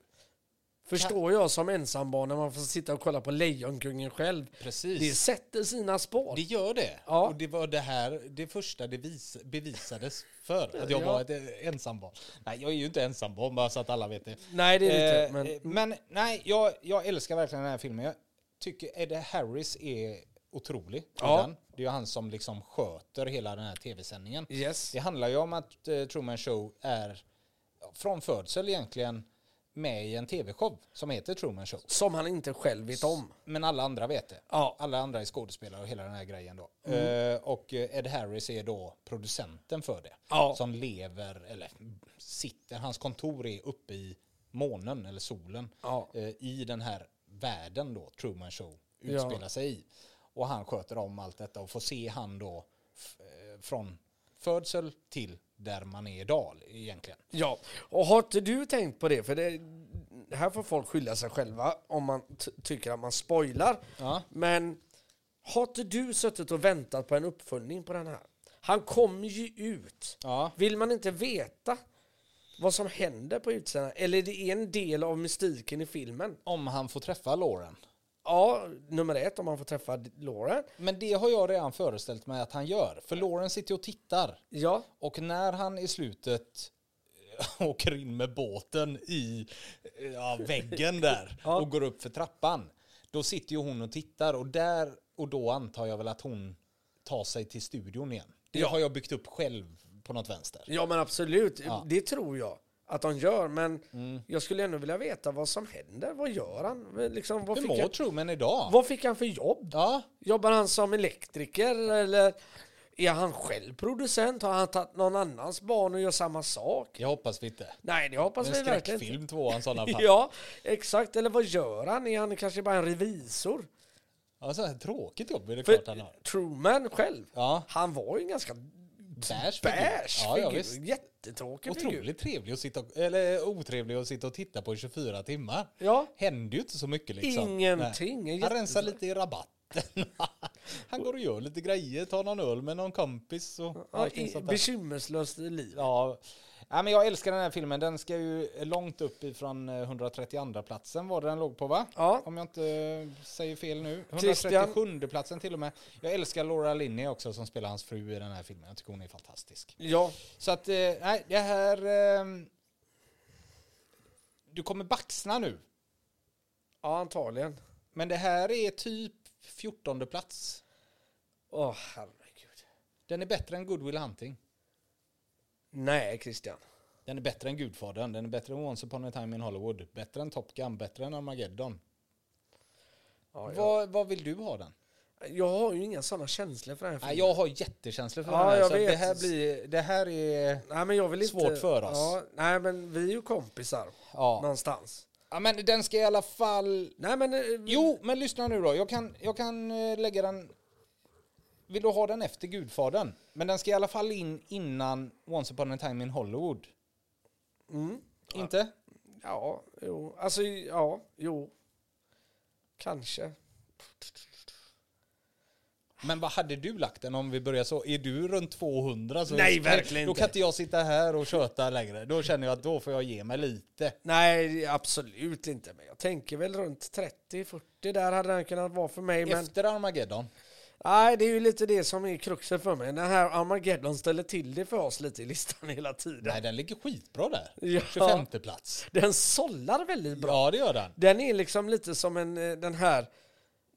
Förstår jag som ensambarn när man får sitta och kolla på Lejonkungen själv. Precis. Det sätter sina spår. Det gör det. Ja. Och det var det här, det första det vis, bevisades för att jag Ja. var ett eh, ensambarn. Nej, jag är ju inte ensambarn bara så att alla vet det. Nej, det är det Eh, inte. eh, Men men nej, jag, jag älskar verkligen den här filmen. Jag tycker Eddie Harris är otrolig. i Ja. Den. Det är ju han som liksom sköter hela den här tv-sändningen. yes. Det handlar ju om att eh, Truman Show är ja, från födsel egentligen med i en tv-show som heter Truman Show. Som han inte själv vet om. Men alla andra vet det. Ja. Mm. Alla andra är skådespelare och hela den här grejen då. Eh, och eh, Ed Harris är då producenten för det. Ja. Som lever, eller sitter, hans kontor är uppe i månen eller solen. Ja. Eh, I den här världen då, Truman Show, utspelar sig i. Och han sköter om allt detta och får se han då f- eh, från födsel till där man är idag egentligen. Ja, och har inte du tänkt på det? För det, här får folk skylla sig själva om man t- tycker att man spoilar. Ja. Men har inte du suttit och väntat på en uppföljning på den här? Han kommer ju ut. Ja. Vill man inte veta vad som händer på utsidan? Eller det är en del av mystiken i filmen. Om han får träffa Lauren. Ja, nummer ett om man får träffa Lauren. Men det har jag redan föreställt mig att han gör. För Lauren sitter och tittar. Ja, Och när han i slutet eh, åker in med båten i eh, ja, väggen där och går upp för trappan, då sitter ju hon och tittar och där och då antar jag väl att hon tar sig till studion igen. Det har jag byggt upp själv på något vänster. ja men absolut. Det tror jag att de gör. Men Mm. jag skulle ändå vilja veta vad som händer. Vad gör han? Liksom, vad Hur fick mår han? Truman idag? Vad fick han för jobb? Ja, Jobbar han som elektriker eller är han själv producent? Har han tagit någon annans barn och gör samma sak? jag hoppas vi inte. Nej, det hoppas En vi verkligen inte. skräckfilm tvåan i sådana fall. Ja, exakt. Eller vad gör han? Är han kanske bara en revisor? Ja, så här tråkigt jobb är det klart han har. För Truman själv, Ja. han var ju en ganska Bärs figur. bärs Ja, ja, figur. visst. Jättetråkig figur. Otroligt trevlig att sitta och, eller otrevlig att sitta och titta på i 24 timmar. Ja. Händer ju inte så mycket liksom. Ingenting. Nej. Han Jätte- rensar lite i rabatten. Han går och gör lite grejer, tar någon öl med någon kompis och Ja, allting sånt där. bekymmerslöst liv. Ja. ja, men jag älskar den här filmen. Den ska ju långt upp ifrån eh, 132 platsen var det den låg på va? Ja. Om jag inte eh, säger fel nu. Christian. 137 platsen till och med. Jag älskar Laura Linney också som spelar hans fru i den här filmen. Jag tycker hon är fantastisk. Ja, Så att, eh, nej, det här... ehm, du kommer baxna nu. ja antagligen. Men det här är typ 14 plats. Åh, herregud. Den är bättre än Goodwill Hunting. Nej, Christian. Den är bättre än Gudfadern. Den är bättre än Once upon a time in Hollywood. Bättre än Top Gun. Bättre än Armageddon. Ja, jag- Vad, vad vill du ha den? Jag har ju inga sådana känslor för den här Nej, filmen. jag har jättekänslor för Ja, den här. jag så att det vet. här blir... Det här är... Nej, men jag vill inte... Svårt för oss. Ja, nej, men vi är ju kompisar Ja. någonstans. ja, men den ska i alla fall... Nej, men... eh, Jo, men lyssna nu då. Jag kan, jag kan eh, lägga den... Vill du ha den efter Gudfadern? Men den ska i alla fall in innan Once upon a time in Hollywood. Mm. Inte? Ja, jo. Alltså, ja, jo. Kanske. Men vad hade du lagt den om vi börjar så? Är du runt 200 så Nej, verkligen Då inte. kan inte jag sitta här och köta längre. Då känner jag att då får jag ge mig lite. Nej, absolut inte. Men jag tänker väl runt 30-40 där hade den kunnat vara för mig. Men Efter Armageddon. nej, det är ju lite det som är kruxet för mig. Den här Armageddon ställer till det för oss lite i listan hela tiden. Nej, den ligger skitbra där. Ja. 25 plats. Den sållar väldigt bra. Ja, det gör den. Den är liksom lite som en, eh, den här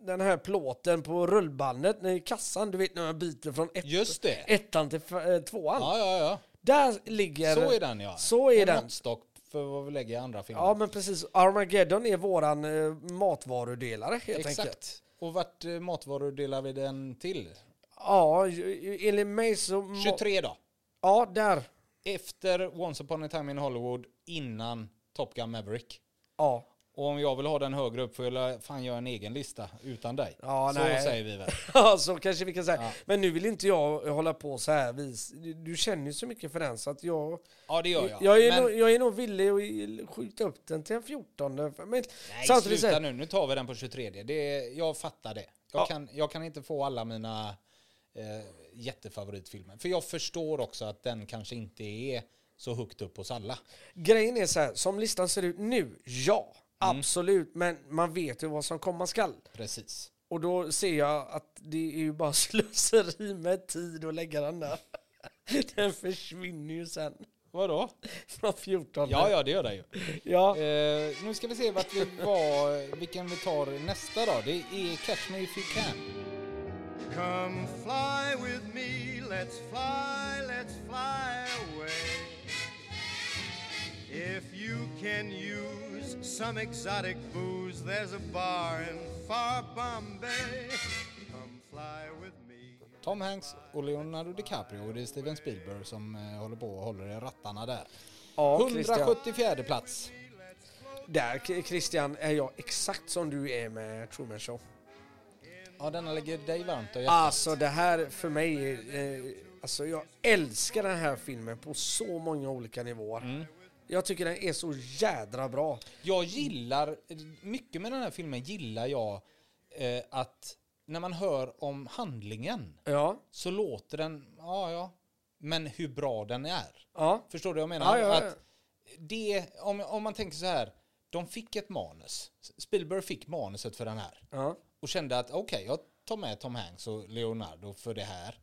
den här plåten på rullbandet i kassan, du vet när man byter från ett, Just det. ettan till f- eh, tvåan. Ja, ja, ja. Där ligger... Så är den ja. Så är en den. måttstock för vad vi lägger i andra filmer. Ja men precis, Armageddon är våran eh, matvarudelare helt Exakt. enkelt. Och vart eh, matvaror delar vi den till? Ja, ju- ju- enligt mig så... må- 23 då. Ja, där. Efter Once upon a time in Hollywood, innan Top Gun Maverick. Ja. Och om jag vill ha den högre upp får jag la- fan göra en egen lista utan dig. Ja, så nej. säger vi väl. så kanske vi kan säga. Men nu vill inte jag hålla på så här vis. Du- Du känner ju så mycket för den så att jag... Ja, det gör jag. Jag är, Men, nog, jag är nog villig att i- skjuta upp den till en 14. Men nej, samtidigt sluta så här, nu. Nu tar vi den på 23. Det är, jag fattar det. Jag, Ja. kan, jag kan inte få alla mina eh, jättefavoritfilmer. För jag förstår också att den kanske inte är så högt upp hos alla. grejen är så här, som listan ser ut nu, ja. Mm. Absolut, men man vet ju vad som komma skall. Precis. Och då ser jag att det är ju bara slöseri med tid att lägga den där. Den försvinner ju sen Vadå? från 14. Ja, ja, det gör det ju. ja. Eh, nu ska vi se vart vi var, vilken vi tar nästa då. Det är Catch Me If You Can. Come fly with me, let's fly, let's fly away. If you can use some exotic booze, there's a bar in far Bombay. Come fly with me. Tom Hanks och Leonardo DiCaprio och det är Steven Spielberg som eh, håller på och håller i rattarna där. Ja, Christian. 174 plats. Där K- Christian är jag exakt som du är med Truman Show. Ja, denna ligger dig varmt och hjärtat. Alltså det här för mig, är, eh, alltså jag älskar den här filmen på så många olika nivåer. Mm. Jag tycker den är så jädra bra. Jag gillar, mycket med den här filmen gillar jag eh, att när man hör om handlingen Ja, så låter den, ja ja, men hur bra den är. ja, Förstår du vad jag menar? Ja, ja, ja. Att det, om, om man tänker så här, de fick ett manus. Spielberg fick manuset för den här. ja. Och kände att okej, jag tar med Tom Hanks och Leonardo för det här.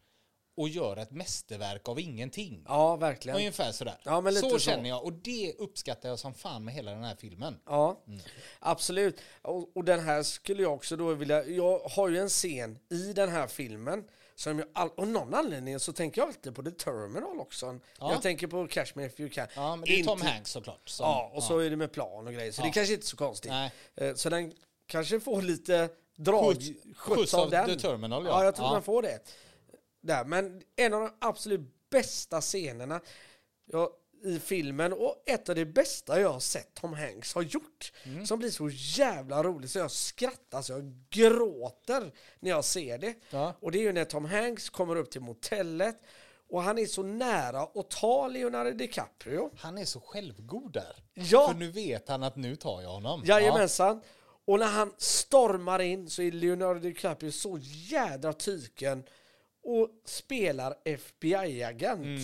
Och gör ett mästerverk av ingenting. ja verkligen. Ungefär sådär. Ja, men lite så så. känner jag och det uppskattar jag som fan med hela den här filmen. Ja, Mm. absolut. Och, och den här skulle jag också då vilja... Jag har ju en scen i den här filmen som jag... All, av någon anledning så tänker jag alltid på The Terminal också. Jag tänker på Cash Me If You Can. Ja, men det är Inte- Tom Hanks såklart. Som, Ja, och så är det med plan och grejer. Så det kanske inte är så konstigt. Nej. Eh, Så den kanske får lite drag... Skjuts- skjuts skjuts av The Terminal, ja. ja. jag tror Ja. den får det. Där. Men en av de absolut bästa scenerna ja, i filmen och ett av det bästa jag har sett Tom Hanks har gjort. Mm. Som blir så jävla roligt så jag skrattar så jag gråter när jag ser det. Ja. Och det är ju när Tom Hanks kommer upp till motellet och han är så nära att ta Leonardo DiCaprio. Han är så självgod där. Ja. För nu vet han att nu tar jag honom. Jajamensan. Och när han stormar in så är Leonardo DiCaprio så jädra tyken och spelar FBI-agent. Mm.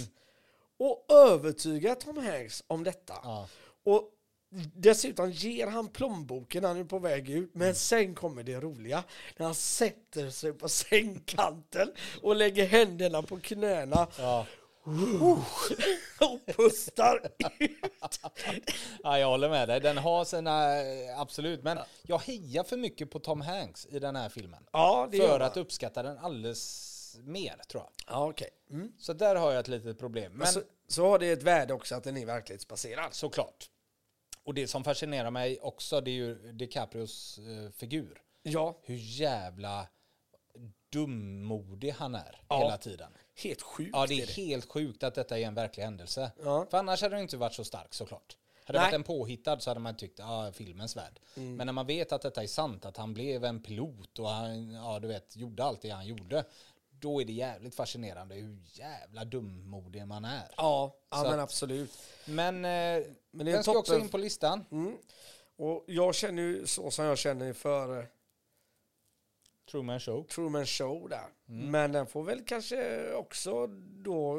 Och övertygar Tom Hanks om detta. Och dessutom ger han plånboken när han är på väg ut. Men Mm. sen kommer det roliga. När han sätter sig på sängkanten och lägger händerna på knäna. Och pustar ut. Ja, jag håller med dig. Den har sina, eh, absolut. Men jag hejar för mycket på Tom Hanks i den här filmen. Ja, det för gör att man. uppskatta den alldeles mer, tror jag. Ja, okej. Mm. Så där har jag ett litet problem. Men Men så, så har det ett värde också att den är verklighetsbaserad. såklart. Och det som fascinerar mig också, det är ju DiCaprios eh, figur. Ja, Hur jävla dummodig han är hela tiden. helt sjukt Ja, det är helt sjukt att detta är en verklig händelse. Ja. För annars hade den inte varit så stark såklart. Hade det Nej. Mm. varit en påhittad så hade man tyckt, ja, filmens värld. Men när man vet att detta är sant, att han blev en pilot och han, ja, du vet, gjorde allt det han gjorde. Då är det jävligt fascinerande hur jävla dummodig man är. Ja, ja Så men att- absolut. Men, eh, Men det är den en toppen- ska Mm. också in på listan. Och jag känner ju så som jag känner för eh, Truman Show. Truman Show där. Mm. Men den får väl kanske också då...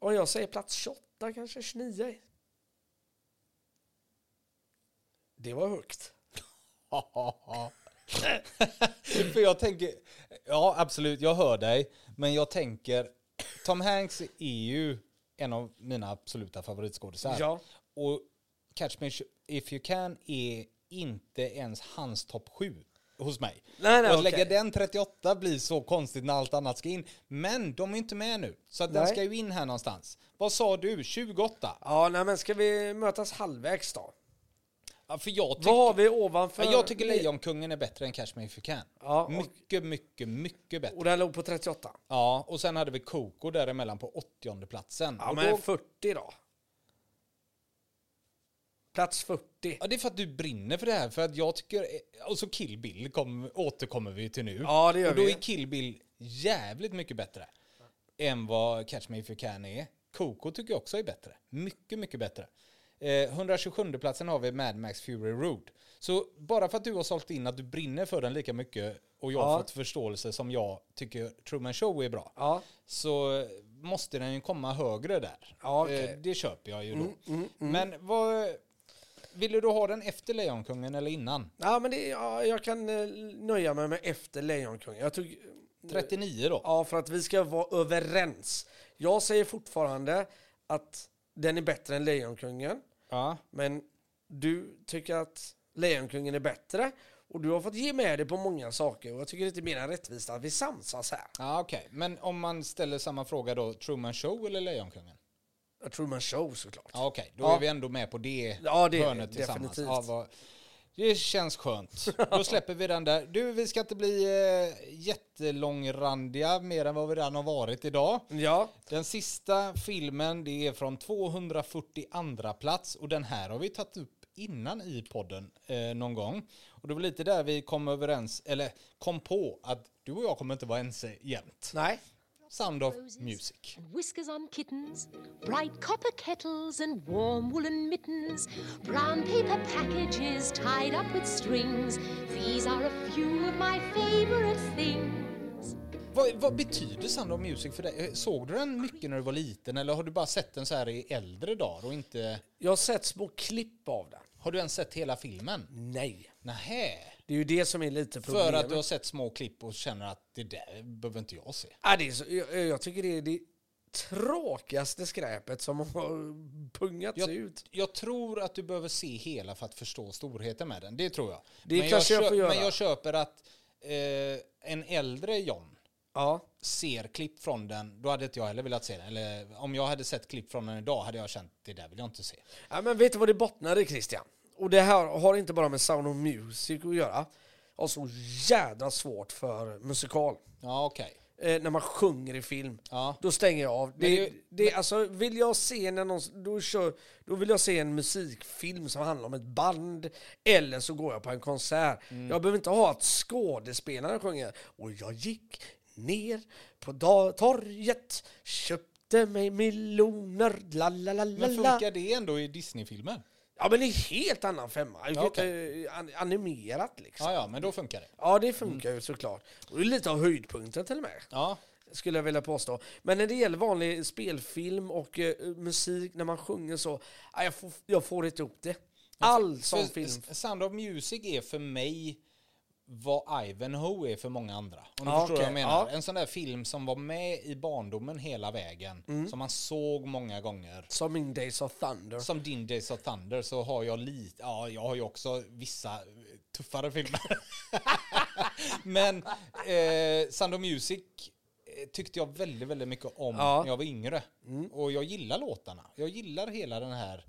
Om jag säger plats 28, kanske 29. Det var högt. För jag tänker, ja absolut, jag hör dig. Men jag tänker, Tom Hanks är ju en av mina absoluta favoritskådisar. Ja. Och Catch Me If You Can är inte ens hans topp sju hos mig. Nej, nej, och att okej. lägga den 38 blir så konstigt när allt annat ska in. Men de är inte med nu, så att den Nej. ska ju in här någonstans. Vad sa du, 28? Ja, nej, men ska vi mötas halvvägs då? Ja, för jag tycker... Vad har vi ovanför? Ja, jag tycker Lejonkungen är bättre än Catch Me If You Can. Ja, och- mycket, mycket, mycket bättre. Och den låg på 38. Ja, och sen hade vi Coco däremellan på 80 platsen. Ja, och men då, 40 då. Plats 40. ja, det är för att du brinner för det här, för att jag tycker... eh, Och så Kill Bill kom, återkommer vi till nu. Ja, det gör och då vi. är Kill Bill jävligt mycket bättre än vad Catch Me If You Can är. Coco tycker jag också är bättre. Mycket, mycket bättre. Eh, 127 platsen har vi Mad Max Fury Road. Så bara för att du har sålt in att du brinner för den lika mycket och jag har Ja. fått förståelse som jag tycker Truman Show är bra. Ja. så måste den ju komma högre där. Ja, okej. Mm, Eh, Det köper jag ju då. Men vad... Ville du ha den efter Lejonkungen eller innan? Ja, men det, ja, jag kan eh, nöja mig med efter Lejonkungen. Jag tog... 39 då? Ja, för att vi ska vara överens. Jag säger fortfarande att den är bättre än Lejonkungen. Ja. Men du tycker att Lejonkungen är bättre. Och du har fått ge med dig på många saker. Och jag tycker det är mer än rättvist att vi samsas här. Ja, okej. Men om man ställer samma fråga då, Truman Show eller Lejonkungen? A Truman Show såklart. Ja, okej. Då Ja. är vi ändå med på det, Ja, det är vi, hörnet tillsammans. definitivt. Ja, vad... Det känns skönt. Då släpper vi den där. Du, vi ska inte bli eh, jättelångrandiga mer än vad vi redan har varit idag. Ja, Den sista filmen det är från 242 plats och den här har vi tagit upp innan i podden eh, någon gång. Och det var lite där vi kom överens, eller kom på att du och jag kommer inte vara ense jämt. nej. Sound of Music. and whiskers on kittens, bright copper kettles and warm woolen mittens, brown paper packages tied up with strings. These are a few of my favorite things. Vad, vad betyder Sound of Music för dig? Eh, Såg du den mycket när du var liten eller har du bara sett den så här i äldre dagar och inte... Jag har sett små klipp av den. Har du ens sett hela filmen? Nej. Nähä. Det är ju det som är lite För Mm. problemet. att du har sett små klipp och känner att det där behöver inte jag se. ja, Ah, det är så, jag, jag tycker det är det tråkigaste skräpet som har pungats Jag, ut. jag tror att du behöver se hela för att förstå storheten med den. Det tror jag. Det men, kanske jag köp- får göra. men jag köper att eh, en äldre John Ja. ser klipp från den, då hade inte jag heller velat se den. Eller om jag hade sett klipp från den idag hade jag känt det där vill jag inte se. ja, men vet du vad det bottnar i Christian? Och det här har inte bara med Sound of Music att göra. Jag har så jädra svårt för musikal. Ja, okej. Eh, när man sjunger i film. Ja. Då stänger jag av. Det, det- det, alltså, vill jag se när någon, då, kör, då vill jag se en musikfilm som handlar om ett band. Eller så går jag på en konsert. Mm. Jag behöver inte ha att skådespelaren sjunger. Och jag gick ner på da- torget, köpte mig miljoner, la la la la Men la. funkar det ändå i Disney-filmer? Ja men det är helt annan femma. Jag kan okej. inte, eh, an- animerat liksom. Ja, ja, men då funkar det. Ja det funkar ju såklart. Och det är lite av höjdpunkten till och med Ja, skulle jag vilja påstå. Men när det gäller vanlig spelfilm och eh, musik, när man sjunger så, ah, jag, får, jag får inte ihop det. All sån för film. S- Sound of Music är för mig vad Ivanhoe är för många andra. Om du Ja, förstår vad jag okej. menar. Ja. En sån där film som var med i barndomen hela vägen, Mm. som man såg många gånger. Som min Days of Thunder. Som din Days of Thunder så har jag lite, ja jag har ju också vissa eh, tuffare filmer. Men eh, Sound of Music eh, tyckte jag väldigt, väldigt mycket om Ja. Mm. när jag var yngre. Och jag gillar låtarna. Jag gillar hela den här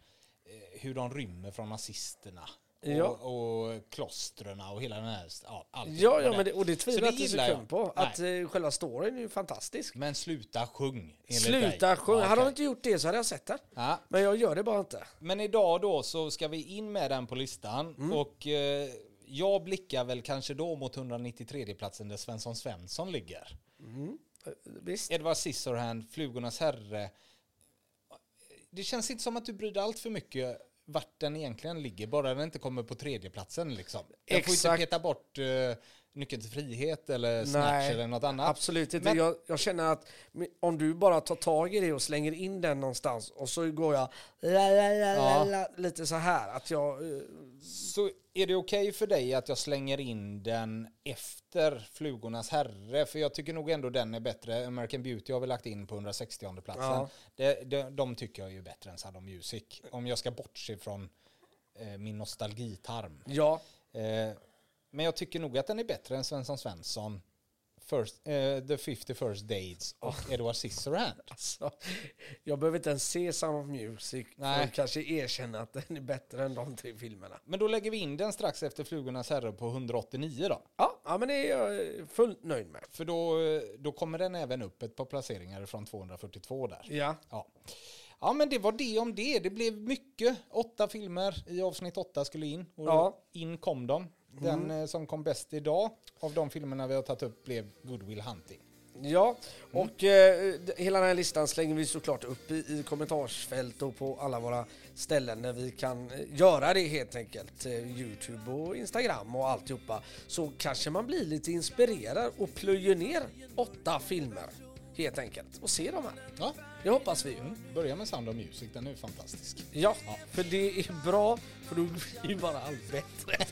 eh, hur de rymmer från nazisterna. Och, Ja. och klostrena och hela den här, ja, allting Ja, med ja men det, och det Så tvivlar jag inte gillar jag. sekund på. Att Nej. eh, själva storyn är ju fantastisk. Men sluta sjung enligt Sluta dig. sjunga. Ja, Hade de okej. inte gjort det så hade jag sett den. Ja. Men jag gör det bara inte. Men idag då så ska vi in med den på listan Mm. och eh, jag blickar väl kanske då mot 193 platsen där Svensson Svensson ligger. Visst. Edward Scissorhand, Flugornas herre. Det känns inte som att du bryr dig allt för mycket vart den egentligen ligger, bara den inte kommer på tredjeplatsen liksom. Jag får inte Exakt. peta bort eh, Nyckeln till frihet eller Snatch Nej, eller något annat. Absolut inte. Men- Jag, jag känner att mi- om du bara tar tag i det och slänger in den någonstans och så går jag la, la, la, la, Ja. la, lite så här. Att jag, eh, Så är det okej för dig att jag slänger in den efter Flugornas herre? För jag tycker nog ändå den är bättre. American Beauty har vi lagt in på 160 platsen. Ja. Det, det, de tycker jag är ju bättre än Sound of Music. Om jag ska bortse från eh, min nostalgitarm. ja, Eh, men jag tycker nog att den är bättre än Svensson Svensson. First, eh, The 51st Dates och Edward Scissorhand. så, jag behöver inte ens se Sound of Music för Nej. att kanske erkänna att den är bättre än de tre filmerna. Men då lägger vi in den strax efter Flugornas herre på 189 då. Ja, ja men det är jag eh, fullt nöjd med. För då, eh, då kommer den även upp ett par placeringar från 242 där. Ja. Ja. ja, men det var det om det. Det blev mycket. Åtta filmer i avsnitt åtta skulle in. Och Ja. in kom de. Den eh, som kom bäst idag av de filmerna vi har tagit upp blev Good Will Hunting. Ja, och eh, d- hela den här listan slänger vi såklart upp i, i kommentarsfält och på alla våra ställen där vi kan eh, göra det helt enkelt. Eh, Youtube och Instagram och alltihopa. Så kanske man blir lite inspirerad och plöjer ner åtta filmer helt enkelt och ser dem här. Ja, Det hoppas vi ju. börja med Sound of Music. Den är ju fantastisk. Ja, för det är bra för då blir ju bara allt bättre.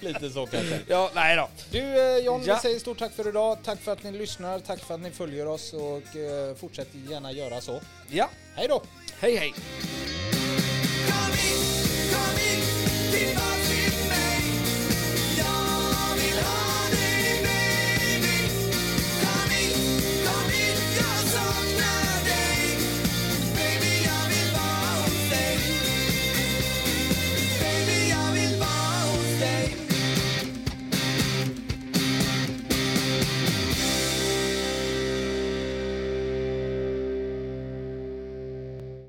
Lite så kanske. Ja, nou. nej då. Du eh, John, Ja. vi säger stort tack för idag. Tack för att ni lyssnar. Tack för att ni följer oss och eh, fortsätt gärna göra så. Ja, Hej då! hej hej. Kom hit,